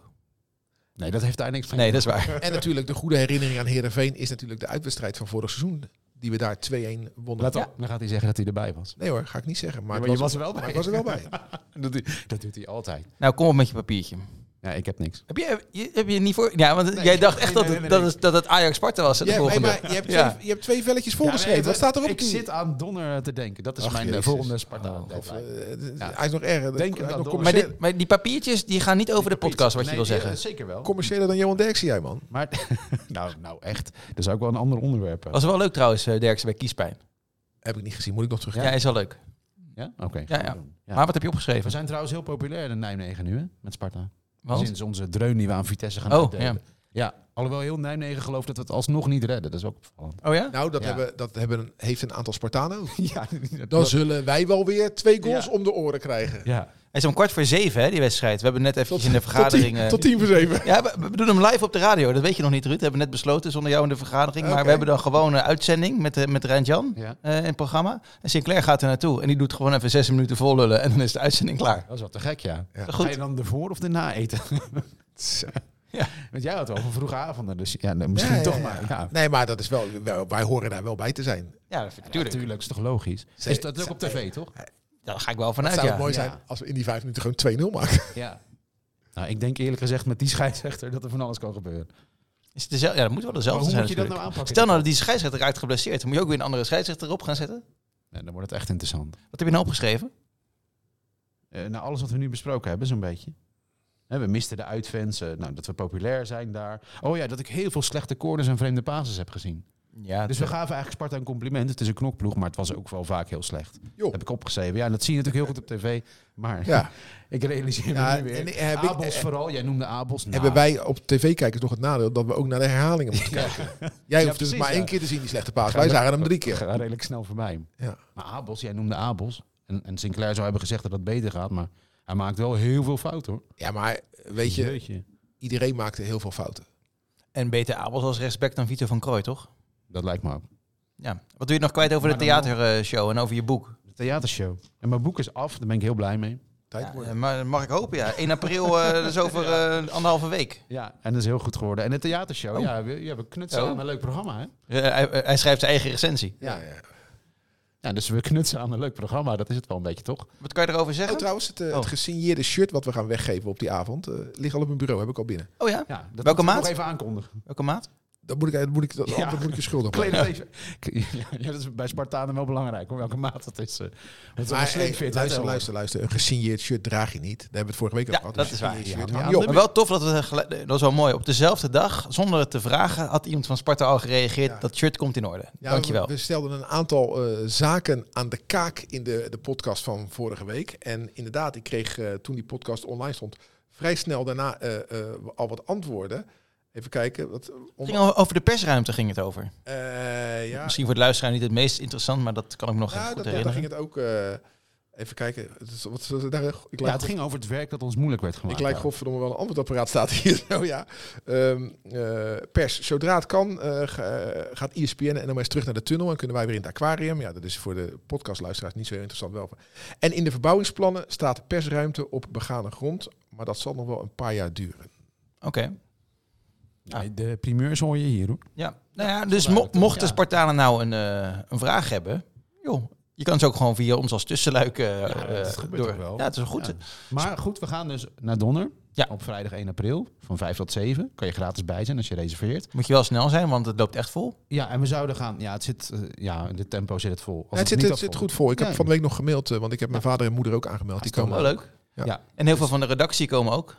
Nee, dat heeft daar niks van.
Nee, dat is waar.
En natuurlijk de goede herinnering aan Herenveen is natuurlijk de uitwedstrijd van vorig seizoen. Die we daar 2-1 wonnen.
Laat op, dan gaat hij zeggen dat hij erbij was.
Nee hoor, ga ik niet zeggen. Maar,
Maar,
het
je was er wel bij.
maar ik was er wel bij.
dat, doet, dat doet hij altijd.
Nou, kom op met je papiertje.
Ja, ik heb niks.
Heb je, je- heb je niet voor... Ja, want
Nee,
jij
ik-
dacht echt
nee,
dat,
nee,
het-
nee,
dat,
nee.
het- dat het Ajax Sparta was, hè, de
Jij-
volgende.
maar je, hebt twee,
Ja.
je hebt twee velletjes voorgeschreven. Wat staat erop?
Ik
nu?
zit aan Donner te denken. Dat is
Ach,
mijn eh,
Jezus.
volgende Sparta.
Of,
deadline.
eh,
Ja.
Hij is nog erger.
Denk
hij
hem dan
is nog
door.
maar,
commerciële-
dit, maar die papiertjes, die gaan niet over de podcast, wat je
Nee,
wil
die, eh,
zeggen.
Zeker wel.
commerciëler dan Johan Derksen jij, man.
Maar, nou, nou echt. Dat is ook wel een ander onderwerp. eh.
Was wel leuk trouwens, eh, Derksen bij Kiespijn.
Heb ik niet gezien. Moet ik nog terug?
Ja, is wel leuk.
Ja? Oké.
Ja,
gaan we
ja.
doen. Ja.
Maar wat heb je
We
opgeschreven?
zijn trouwens heel populair in Nijmegen nu, hè? Met Sparta.
Want?
Sinds onze dreun die we aan Vitesse gaan
Oh,
uitdelen.
ja.
Ja. alhoewel heel Nijmegen gelooft dat we het alsnog niet redden. Dat is ook opvallend.
Oh ja?
Nou, dat,
Ja.
hebben, dat hebben, heeft een aantal Spartanen ook.
Ja,
Dan zullen wij wel weer twee goals
Ja.
om de oren krijgen.
ja.
Het is om kwart voor zeven, hè, die wedstrijd. We hebben net eventjes in de
Tot
vergadering...
tien,
eh,
tot tien voor zeven.
Ja, we, we doen hem live op de radio. Dat weet je nog niet, Ruud. We hebben net besloten zonder jou in de vergadering. Maar
Oké.
we hebben dan gewoon een uitzending met, eh, met Rijn-Jan
Ja.
eh, in het programma. En Sinclair gaat er naartoe. En die doet gewoon even zes minuten vol lullen. En dan is de uitzending klaar.
Dat is wel te gek, ja.
Ja.
Ga je dan ervoor of erna eten?
Ja.
Want jij had wel van vroege avonden, dus ja, nou, misschien
Ja, ja,
toch
ja.
maar. Ja.
Nee, maar dat is wel, wel- wij horen daar wel bij te zijn.
Ja, dat vind ik
Natuurlijk, is toch logisch?
Ze-
is dat ook
ze-
op tv, toch?
Daar ga ik wel
Het
vanuit,
zou
ja.
het mooi
ja.
zijn als we in die vijf minuten gewoon 2-0 maken.
Ja. Nou, ik denk eerlijk gezegd met die scheidsrechter dat er van alles kan gebeuren.
Is het dezelfde? Ja, dat moet wel
Maar
dezelfde
hoe
zijn
moet je dat nou
natuurlijk.
aanpakken?
Stel nou dat die scheidsrechter raakt geblesseerd. Dan moet je ook weer een andere scheidsrechter op gaan zetten.
Nee, dan wordt het echt interessant.
Wat heb je nou opgeschreven?
Eh nou, alles wat we nu besproken hebben, zo'n beetje. Hè, we misten de uitfans, eh, nou, dat we populair zijn daar. Oh ja, dat ik heel veel slechte corners en vreemde pases heb gezien.
Ja,
Dus we gaven eigenlijk Sparta een compliment. Het is een knokploeg, maar het was ook wel vaak heel slecht.
Joh.
Heb ik opgeschreven. Ja, en dat zie je natuurlijk heel goed op tv. Maar
Ja.
ik realiseer me
Ja,
nu weer.
en heb ik-
Abels vooral. Jij noemde Abels. Nou,
Hebben wij op tv-kijkers nog het nadeel dat we ook naar de herhalingen moeten kijken. Jij
Ja,
hoeft dus
precies,
maar
ja.
één keer te zien die slechte paas.
Ga-
Wij zagen hem drie
we
keer.
gaan redelijk snel voorbij.
Ja.
Maar Abels, jij noemde Abels. En, en Sinclair zou hebben gezegd dat dat beter gaat. Maar hij maakt wel heel veel fouten hoor.
Ja, maar weet je,
Jeetje.
iedereen maakte heel veel fouten.
En beter Abels als rechtsback dan Vito van Krooi, toch?
Dat lijkt me ook.
Ja. Wat doe je nog kwijt over
Maar
de
dan
theatershow en over je boek?
De theatershow. En mijn boek is af, daar ben ik heel blij mee.
Tijd
Ja,
worden.
eh, maar mag ik hopen, ja. 1 april, eh, dat is over eh, anderhalve week.
Ja, en dat is heel goed geworden. En de theatershow,
Oh.
ja, we, ja, we knutselen
Oh.
aan een leuk programma. Hè?
Eh, hij, eh, hij schrijft zijn eigen recensie.
Ja, ja.
Ja, dus we knutselen aan een leuk programma, dat is het wel een beetje toch?
Wat kan je erover
Oh,
zeggen?
trouwens, het, eh, het
Oh.
gesigneerde shirt wat we gaan weggeven op die avond, eh, ligt al op mijn bureau, heb ik al binnen.
Oh ja?
Ja, dat
Welke
moeten we
maat?
Nog even aankondigen.
Welke maat?
Dat moet ik, eh, dat moet ik, dat,
Ja.
dat moet ik je schuldig
Kleed
blijven.
het even. Ja, dat is bij Spartanen wel belangrijk, hoor, welke maat dat is. eh. Want het is een
Maar,
slim
eh,
fit, hè,
luister,
wel.
luister, luister. Een gesigneerd shirt draag je niet. Daar hebben we het vorige week
Ja,
over gehad.
dat
Een
is waar.
gesigneerd
Ja,
shirt
maar
hang
ja,
je op.
Maar wel tof dat we... gelijk- Dat is wel mooi. Op dezelfde dag, zonder het te vragen, had iemand van Sparta al gereageerd...
Ja.
dat shirt komt in orde.
Ja,
Dankjewel.
We, we stelden een aantal eh, zaken aan de kaak in de, de podcast van vorige week. En inderdaad, ik kreeg eh, toen die podcast online stond vrij snel daarna eh, eh, al wat antwoorden. Even kijken. Wat,
Het
om-
ging over- over de persruimte ging het over.
eh, ja,
Misschien voor de luisteraar niet het meest interessant, maar dat kan ik me nog
Ja,
even goed
dat, daar ging
herinneren.
het ook. eh, even kijken. Het is- wat, wat- daar, ik
Ja, het ging over het werk dat ons moeilijk werd
Ik
gemaakt.
lijk godverdomme wel een antwoordapparaat staat hier. Zo ja. Ehm, eh, pers, zodra het kan, eh, ga- eh, gaat ESPN en NOS terug naar de tunnel en kunnen wij weer in het aquarium. Ja, dat is voor de podcastluisteraars niet zo heel interessant wel. En in de verbouwingsplannen staat persruimte op begane grond, maar dat zal nog wel een paar jaar duren.
Oké.
Ah.
Nee, de primeurs hoor je hier, hoor.
Ja. Nou ja, dus
vandaar
mo-
dat het-
mochten
ja.
Spartanen nou een, eh, een vraag hebben, joh, je kan ze ook gewoon via ons als tussenluik eh,
dat
eh,
gebeurt
door.
ook wel.
Ja, het is goed.
Ja. Maar goed, we gaan dus naar Donner.
Ja.
Op vrijdag 1 april van 5 tot 7. Kan je gratis bij zijn als je reserveert.
Moet je wel snel zijn, want het loopt echt vol.
Ja, en we zouden gaan. Ja, het zit, eh, ja in dit tempo zit het vol. Als
Ja, het zit,
niet
het
al
zit
vol
goed vol. Ik heb
Ja.
van de week nog gemaild, eh, want ik heb mijn vader en moeder ook aangemeld. Die
is toch
komen.
Wel Nou, Oh, leuk.
Ja.
Ja.
En heel veel van de redactie komen ook.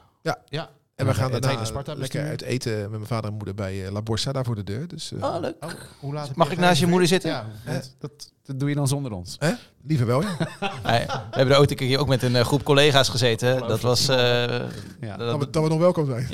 Ja.
En we gaan
het
daarna
hele Sparta
lekker uit eten met mijn vader en moeder bij eh, La Borsa daar voor de deur. Dus eh,
Oh, leuk.
Hoe laat heb
Mag ik naast je moeder
gereserveerd?
zitten?
Ja, want dat, dat doe je dan zonder ons.
hè? liever wel, ja.
Hey, we hebben er ooit een keer ook met een eh, groep collega's gezeten. Dat was eh,
Ja.
dat-
Dat we, dat we nog welkom zijn.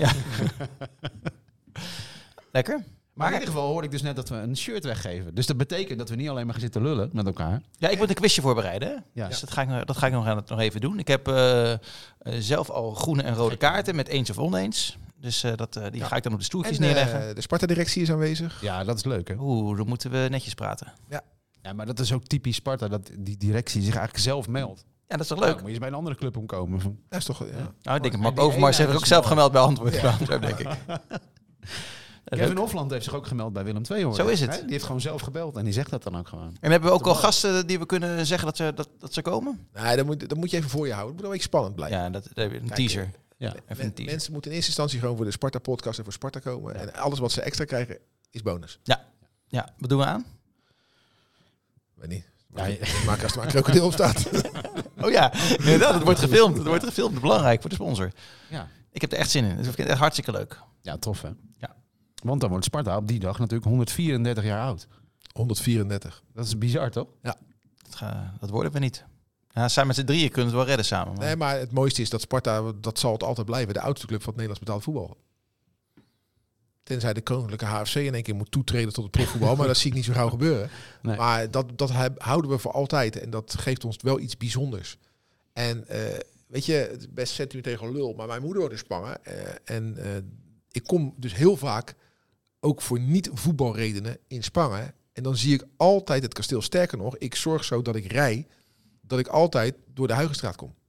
lekker.
Maar in
Maar
ieder geval hoorde ik dus net dat we een shirt weggeven. Dus dat betekent dat we niet alleen maar gaan zitten lullen met elkaar.
ja, ik moet een quizje voorbereiden. hè?
Ja.
Dus dat ga ik, nog- dat ga ik nog, aan het- nog even doen. Ik heb eh, eh, zelf al groene en rode kaarten met eens of oneens. Dus eh, dat, eh, die ga ik dan op de
En,
stoeltjes
eh,
neerleggen.
de Sparta-directie is aanwezig.
Ja, dat is leuk hè.
Oeh, dan moeten we netjes praten.
Ja, maar dat is ook typisch Sparta, dat die directie zich eigenlijk zelf meldt.
Ja, dat is toch
Ja,
leuk?
moet je eens bij een andere club omkomen.
Dat is toch... Ja.
Nou, ik denk dat Mark
die
Overmars
ene
heeft er ook
is
zelf
mooi.
gemeld bij antwoord. Zo denk ik. Leuk.
Kevin Hofland heeft zich ook gemeld bij Willem II hoor.
Zo is het.
Hè? Die heeft gewoon zelf gebeld en die zegt dat dan ook gewoon.
En hebben we ook al gasten die we kunnen zeggen dat ze, dat, dat ze komen?
Nee, dat moet, dat moet je even voor je houden. Het moet wel een beetje spannend blijven.
Ja, dat, dat heb je- een
Kijk,
teaser.
Ja.
Even een
Men-
teaser.
mensen moeten in eerste instantie gewoon voor de Sparta-podcast en voor Sparta komen. En alles wat ze extra krijgen is bonus.
Ja, wat doen we aan?
Weet niet.
Ja, je-
Maak als er maar een krokodil op staat.
Oh ja, inderdaad, het wordt gefilmd. Het wordt gefilmd, belangrijk voor de sponsor.
Ja.
Ik heb er echt zin in. Ik vind het echt hartstikke leuk.
ja, tof hè.
Ja.
Want dan wordt Sparta op die dag natuurlijk 134 jaar oud.
134.
Dat is bizar toch?
Dat, ga- dat worden we niet. Ja, samen met z'n drieën kunnen we het wel redden samen. maar-
Nee, maar het mooiste is dat Sparta, dat zal het altijd blijven, de oudste club van het Nederlands betaald voetbal. Tenzij de koninklijke HFC in één keer moet toetreden tot het profvoetbal, maar dat zie ik niet zo gauw gebeuren.
Nee.
Maar dat, dat heb- houden we voor altijd en dat geeft ons wel iets bijzonders. En eh, weet je, het is best sentiment tegen lul, maar mijn moeder wordt in Spangen. eh, en eh, ik kom dus heel vaak, ook voor niet-voetbalredenen, in Spangen. En dan zie ik altijd het kasteel. Sterker nog, ik zorg zo dat ik rij, dat ik altijd door de Huigenstraat kom. Hè,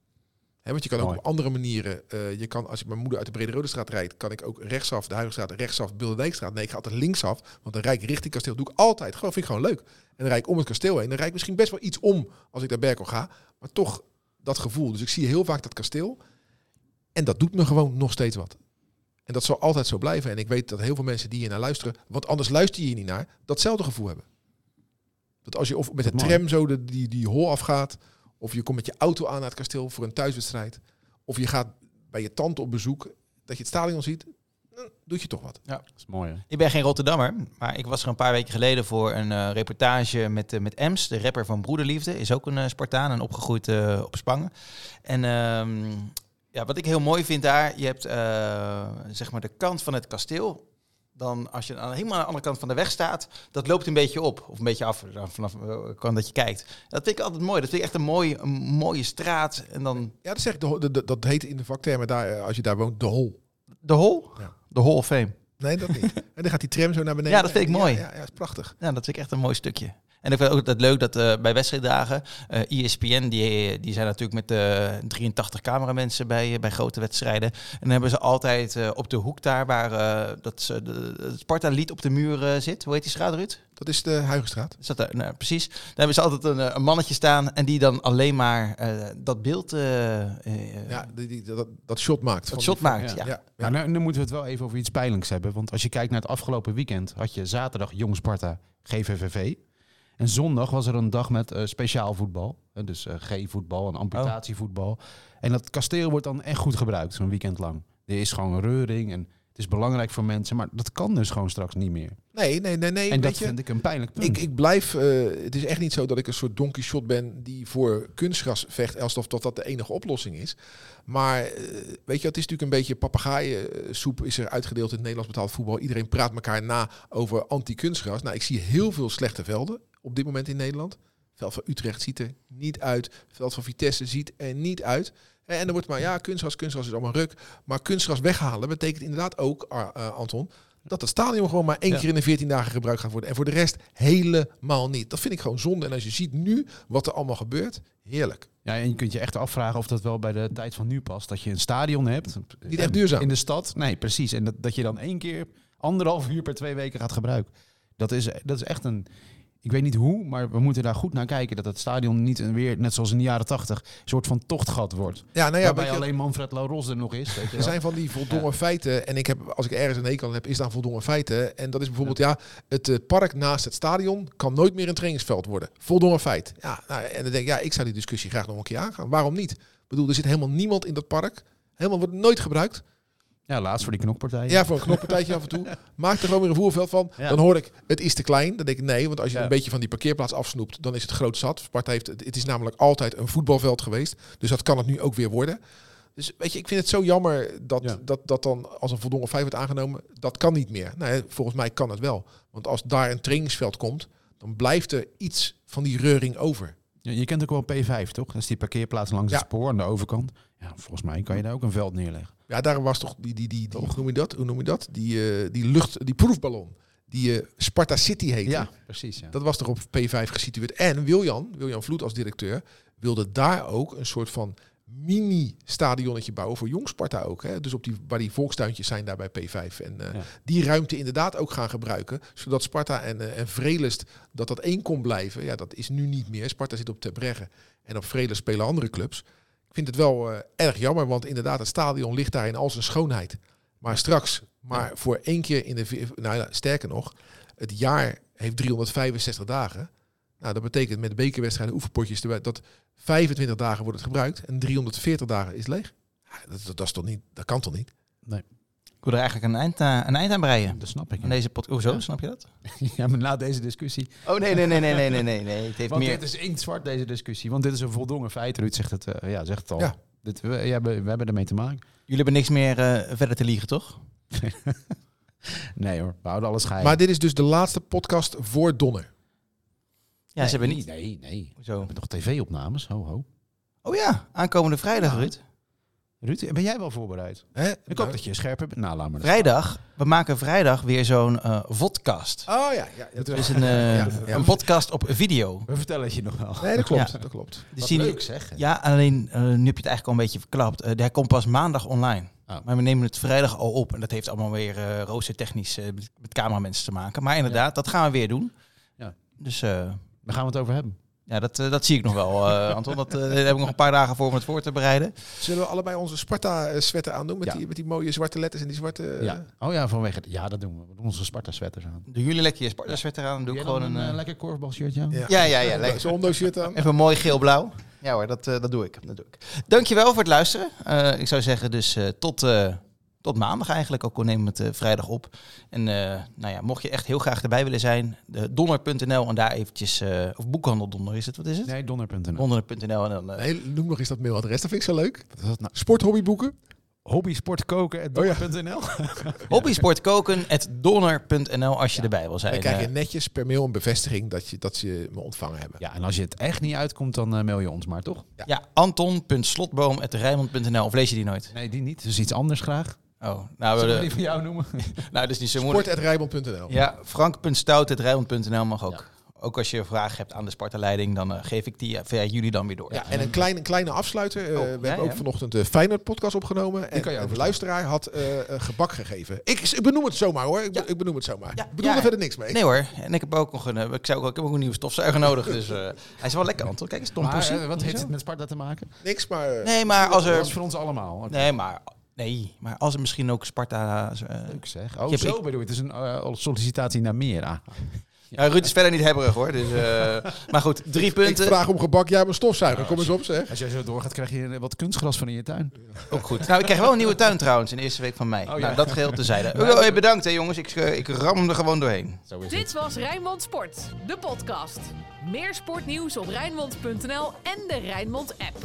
Hè, want je kan ook
Mooi.
op andere manieren. eh, je kan, als ik mijn moeder uit de Brede Rode Straat rijdt, kan ik ook rechtsaf, de Huigenstraat, rechtsaf, Bilderdijkstraat. Nee, ik ga altijd linksaf. Want dan rijd ik richting kasteel. doe ik altijd. Gewoon, vind ik gewoon leuk. En dan rijd ik om het kasteel heen. Dan rijd ik misschien best wel iets om als ik naar Berkel ga. Maar toch dat gevoel. Dus ik zie heel vaak dat kasteel. En dat doet me gewoon nog steeds wat. En dat zal altijd zo blijven. En ik weet dat heel veel mensen die hier naar luisteren, want anders luister je hier niet naar, datzelfde gevoel hebben. Dat als je of met de
Mooi.
tram zo de, die, die hol afgaat, of je komt met je auto aan naar het kasteel voor een thuiswedstrijd, of je gaat bij je tante op bezoek, dat je het stadion ziet, dan doet je toch wat.
Dat is mooi, hè?
Ik ben geen Rotterdammer, maar ik was er een paar weken geleden voor een eh, reportage met, eh, met Ems, de rapper van Broederliefde. Is ook een eh, Spartaan en opgegroeid eh, op Spangen. En ehm, ja, wat ik heel mooi vind daar, je hebt eh, zeg maar de kant van het kasteel. Dan als je aan, helemaal aan de andere kant van de weg staat, dat loopt een beetje op. Of een beetje af, dan vanaf de kant dat je kijkt. Dat vind ik altijd mooi. Dat vind ik echt een, mooi, een mooie straat. En dan
Ja, dat zeg ik, de ho- de, de- dat heet in de vaktermen daar, eh, als je daar woont, de hol.
de hol,
Ja.
de hol of fame.
Nee, dat niet. en dan gaat die tram zo naar beneden.
Ja, dat vind ik mooi.
Ja, ja, ja, is prachtig.
Ja, Nou, dat vind ik echt een mooi stukje. En ik vind ook dat leuk dat eh, bij wedstrijddagen, eh ESPN, die, die zijn natuurlijk met eh 83 cameramensen bij, eh, bij grote wedstrijden. En dan hebben ze altijd eh, op de hoek daar waar eh, dat ze de, het Sparta-lied op de muur eh, zit. Hoe heet die straat, Ruud?
Dat is de Huigenstraat.
Is dat daar? Nou, precies. Daar hebben ze altijd een, eh, een mannetje staan en die dan alleen maar eh, dat beeld, eh, eh,
Ja, die, die- dat, dat shot maakt.
dat
van
shot
die-
maakt.
ja.
Ja.
Ja, ja.
Nou, nu, nu moeten we het wel even over iets pijnlijks hebben. Want als je kijkt naar het afgelopen weekend, had je zaterdag Jong Sparta GVVV. En zondag was er een dag met eh, speciaal voetbal. Eh, dus eh, G-voetbal en amputatievoetbal.
Oh.
En dat kasteel wordt dan echt goed gebruikt, zo'n weekend lang. Er is gewoon reuring en het is belangrijk voor mensen. Maar dat kan dus gewoon straks niet meer.
Nee, nee, nee, nee.
en
weet
dat
je,
vind ik een pijnlijk punt.
Ik, ik blijf, eh, het is echt niet zo dat ik een soort Don Quixote ben die voor kunstgras vecht, alsof dat, dat de enige oplossing is. Maar eh, weet je, het is natuurlijk een beetje papegaaiensoep is er uitgedeeld in het Nederlands betaald voetbal. Iedereen praat elkaar na over anti-kunstgras. Nou, ik zie heel veel slechte velden op dit moment in Nederland. Veld van Utrecht ziet er niet uit. Veld van Vitesse ziet er niet uit. En en er wordt maar, ja, kunstgras, kunstgras is allemaal ruk. Maar kunstgras weghalen betekent inderdaad ook, Ar- eh, Anton, dat het stadion gewoon maar één
Ja.
keer in de 14 dagen gebruikt gaat worden. En voor de rest helemaal niet. Dat vind ik gewoon zonde. En als je ziet nu wat er allemaal gebeurt, heerlijk.
Ja, en je kunt je echt afvragen of dat wel bij de tijd van nu past. Dat je een stadion hebt.
Niet echt duurzaam.
In de stad. Nee, precies. En dat, dat je dan één keer anderhalf uur per twee weken gaat gebruiken. Dat is, dat is echt een... Ik weet niet hoe, maar we moeten daar goed naar kijken. Dat het stadion niet een weer, net zoals in de jaren tachtig, een soort van tochtgat wordt.
Ja, nou ja,
waarbij
weet je,
alleen Manfred Laros er nog is. Weet je
er
wel.
zijn van die voldongen feiten. En ik heb, als ik ergens een hekel aan heb, is daar voldongen feiten. En dat is bijvoorbeeld, ja, het eh, park naast het stadion kan nooit meer een trainingsveld worden. Voldongen feit. Ja, nou, en dan denk ik, ja, ik zou die discussie graag nog een keer aangaan. Waarom niet? Ik bedoel, er zit helemaal niemand in dat park. Helemaal wordt nooit gebruikt.
Ja, laatst voor die knokpartij.
Ja, voor een knoppartijtje af en toe. Maak er gewoon weer een voerveld van.
Ja.
Dan hoor ik, het is te klein. Dan denk ik, nee, want als je
Ja.
een beetje van die parkeerplaats afsnoept, dan is het groot zat. Sparta heeft, het is namelijk altijd een voetbalveld geweest. Dus dat kan het nu ook weer worden. Dus weet je, ik vind het zo jammer dat
Ja.
dat, dat dan als een voldongen vijf wordt aangenomen. Dat kan niet meer. Nee, volgens mij kan het wel. Want als daar een trainingsveld komt, dan blijft er iets van die reuring over.
Je, je kent ook wel P5, toch? Dat is die parkeerplaats langs
Ja.
het spoor aan de overkant. Ja, volgens mij kan je daar ook een veld neerleggen.
Ja, daar was toch die, die, die, die hoe noem je dat? Hoe noem je dat? Die, eh, die lucht, die proefballon. Die eh, Sparta City heette.
precies. Ja.
Dat was toch op P5 gesitueerd. En Wiljan, Wiljan Vloed als directeur, wilde daar ook een soort van mini-stadionnetje bouwen voor Jong Sparta ook. Hè? Dus op die, waar die volkstuintjes zijn daar bij P5. En eh,
Ja.
die ruimte inderdaad ook gaan gebruiken. Zodat Sparta en, eh, en Vrelest, dat dat één kon blijven. Ja, dat is nu niet meer. Sparta zit op Terbregge en op Vrelest spelen andere clubs. Ik vind het wel eh, erg jammer, want inderdaad, het stadion ligt daar in al zijn schoonheid. Maar straks, maar voor één keer in de... vi- Nou ja, sterker nog, het jaar heeft 365 dagen. Nou, dat betekent met de bekerwedstrijden, oefenpotjes erbij, dat 25 dagen wordt het gebruikt en 340 dagen is leeg. Ja, Dat, dat, dat is toch niet, dat kan toch niet?
Ik wil er eigenlijk een eind, aan- een eind aan breien.
Dat snap ik.
Aan
ja.
deze podcast. Hoezo,
Ja.
snap je dat?
Ja, maar na deze discussie
Oh nee, nee, nee, nee, nee, nee, nee. nee. Het heeft
Want
meer...
dit is inktzwart, deze discussie. Want dit is een voldongen feit. Ruud zegt het, eh, ja, zegt het al.
Ja.
Dit, we, ja, we, we hebben ermee te maken.
Jullie hebben niks meer eh, verder te liegen, toch?
Nee hoor, we houden alles geheim.
Maar dit is dus de laatste podcast voor Donner.
Ja, ze hebben niet.
Nee, nee. We
Zo.
hebben nog tv-opnames, ho ho.
Oh ja, aankomende vrijdag,
Ja.
Ruud.
Ruud, ben jij wel voorbereid?
Hè?
Ik
Nou,
hoop dat je scherp hebt. Nou, laat maar.
Vrijdag. We maken vrijdag weer zo'n eh vodka podcast.
Oh ja, ja. Dat
Dus een, eh,
Ja, ja.
een podcast op video.
We vertellen het je nog wel.
Nee, dat klopt.
Ja.
Dat klopt.
Dus die-
zeg.
Ja, alleen eh, nu heb je het eigenlijk al een beetje verklapt. Eh hij komt pas maandag online.
Oh.
Maar we nemen het vrijdag al op. En dat heeft allemaal weer eh roostertechnisch eh, met, met cameramensen te maken. Maar inderdaad, dat gaan we weer doen.
Ja.
Dus eh,
Daar gaan we het over hebben.
ja, dat, eh, dat zie ik nog wel, eh, Anton. Dat, eh, daar heb ik nog een paar dagen voor om het voor te bereiden.
Zullen we allebei onze eh, Sparta-sweater aandoen? Met,
Ja.
die, met die mooie zwarte letters en die zwarte... eh,
ja. Oh ja, vanwege... Ja, dat doen we. We doen onze Sparta-sweaters aan.
Doen jullie lekker je Sparta-sweater aan. Dan doe ik
Jij
gewoon
dan
een... eh,
lekker korfbalshirtje aan?
Ja, ja, ja, lekker.
Zo'n Hondo-shirt aan.
Even mooi geel-blauw. Ja hoor, dat, eh, dat, doe ik. dat doe ik. Dankjewel voor het luisteren. Eh, ik zou zeggen dus eh, tot, eh, tot maandag eigenlijk. Ook al nemen we het eh, vrijdag op. En eh, nou ja, mocht je echt heel graag erbij willen zijn. de Donner.nl en daar eventjes... eh, of boekhandel Donner is het, wat is het?
Nee, donner.nl.
Donner.nl en dan... eh,
Nee, noem nog eens dat mailadres. Dat vind ik zo leuk.
Wat is dat nou?
Sporthobbyboeken.
Hobby, sport, koken en donner.nl.
Hobbysportkoken.donner.nl als je erbij wil zijn.
Dan krijg je
Eh,
netjes per mail een bevestiging dat, je, dat ze me ontvangen hebben.
Ja, en als je het echt niet uitkomt, dan eh, mail je ons maar, toch?
ja, anton.slotboom.rijmond.nl. Of lees je die nooit?
Nee, die niet. Dus iets anders graag.
Oh, nou,
Zullen
eh,
we die van jou noemen?
nou dat is niet zo moeilijk.
Sport.rijbond.nl
Ja, frank.stout.rijmond.nl mag ook. Ook als je vragen hebt aan de Sparta-leiding, dan eh, geef ik die eh, via jullie dan weer door.
Ja, en een, klein, een kleine afsluiter. Eh,
Oh,
we
ja,
hebben
ja.
ook vanochtend de Feyenoord-podcast opgenomen. En
kan je
een
overslaan.
luisteraar had eh, eh, gebak gegeven. Ik, ik benoem het zomaar hoor. Ik, be- ik benoem het zomaar.
Ja,
Ik bedoel
ja.
er verder niks mee.
Nee hoor, en ik heb ook nog een, eh, ik zou ook, ik heb ook een nieuwe stofzuiger nodig, dus eh, hij is wel lekker Anton. Kijk eens, Tom
Maar,
Poesie.
eh, wat heeft
Zo.
het met Sparta te maken?
Niks, maar... eh,
Nee, maar als
Dat is
er,
voor ons allemaal. Oké.
nee, maar, nee, maar als er misschien ook Sparta... eh,
Leuk zeg. Oh,
Je hebt-
zo bedoel je. Het is een eh, sollicitatie naar meer. Ah.
ja, nou, Ruud is verder niet hebberig hoor, dus, eh, maar goed, drie
Ik
punten,
vraag om gebak, jij hebt een stofzuiger. Kom eens op zeg.
Als jij zo doorgaat, krijg je eh, wat kunstgras van in je tuin.
ook goed. Nou, ik krijg wel een nieuwe tuin trouwens in de eerste week van mei.
ja.
Nou, dat geheel tezijde. Oh, eh, bedankt hè jongens, ik, eh, ik ram hem er gewoon doorheen.
Zo is
Dit was Rijnmond Sport, de podcast. Meer sportnieuws op Rijnmond.nl en de Rijnmond app.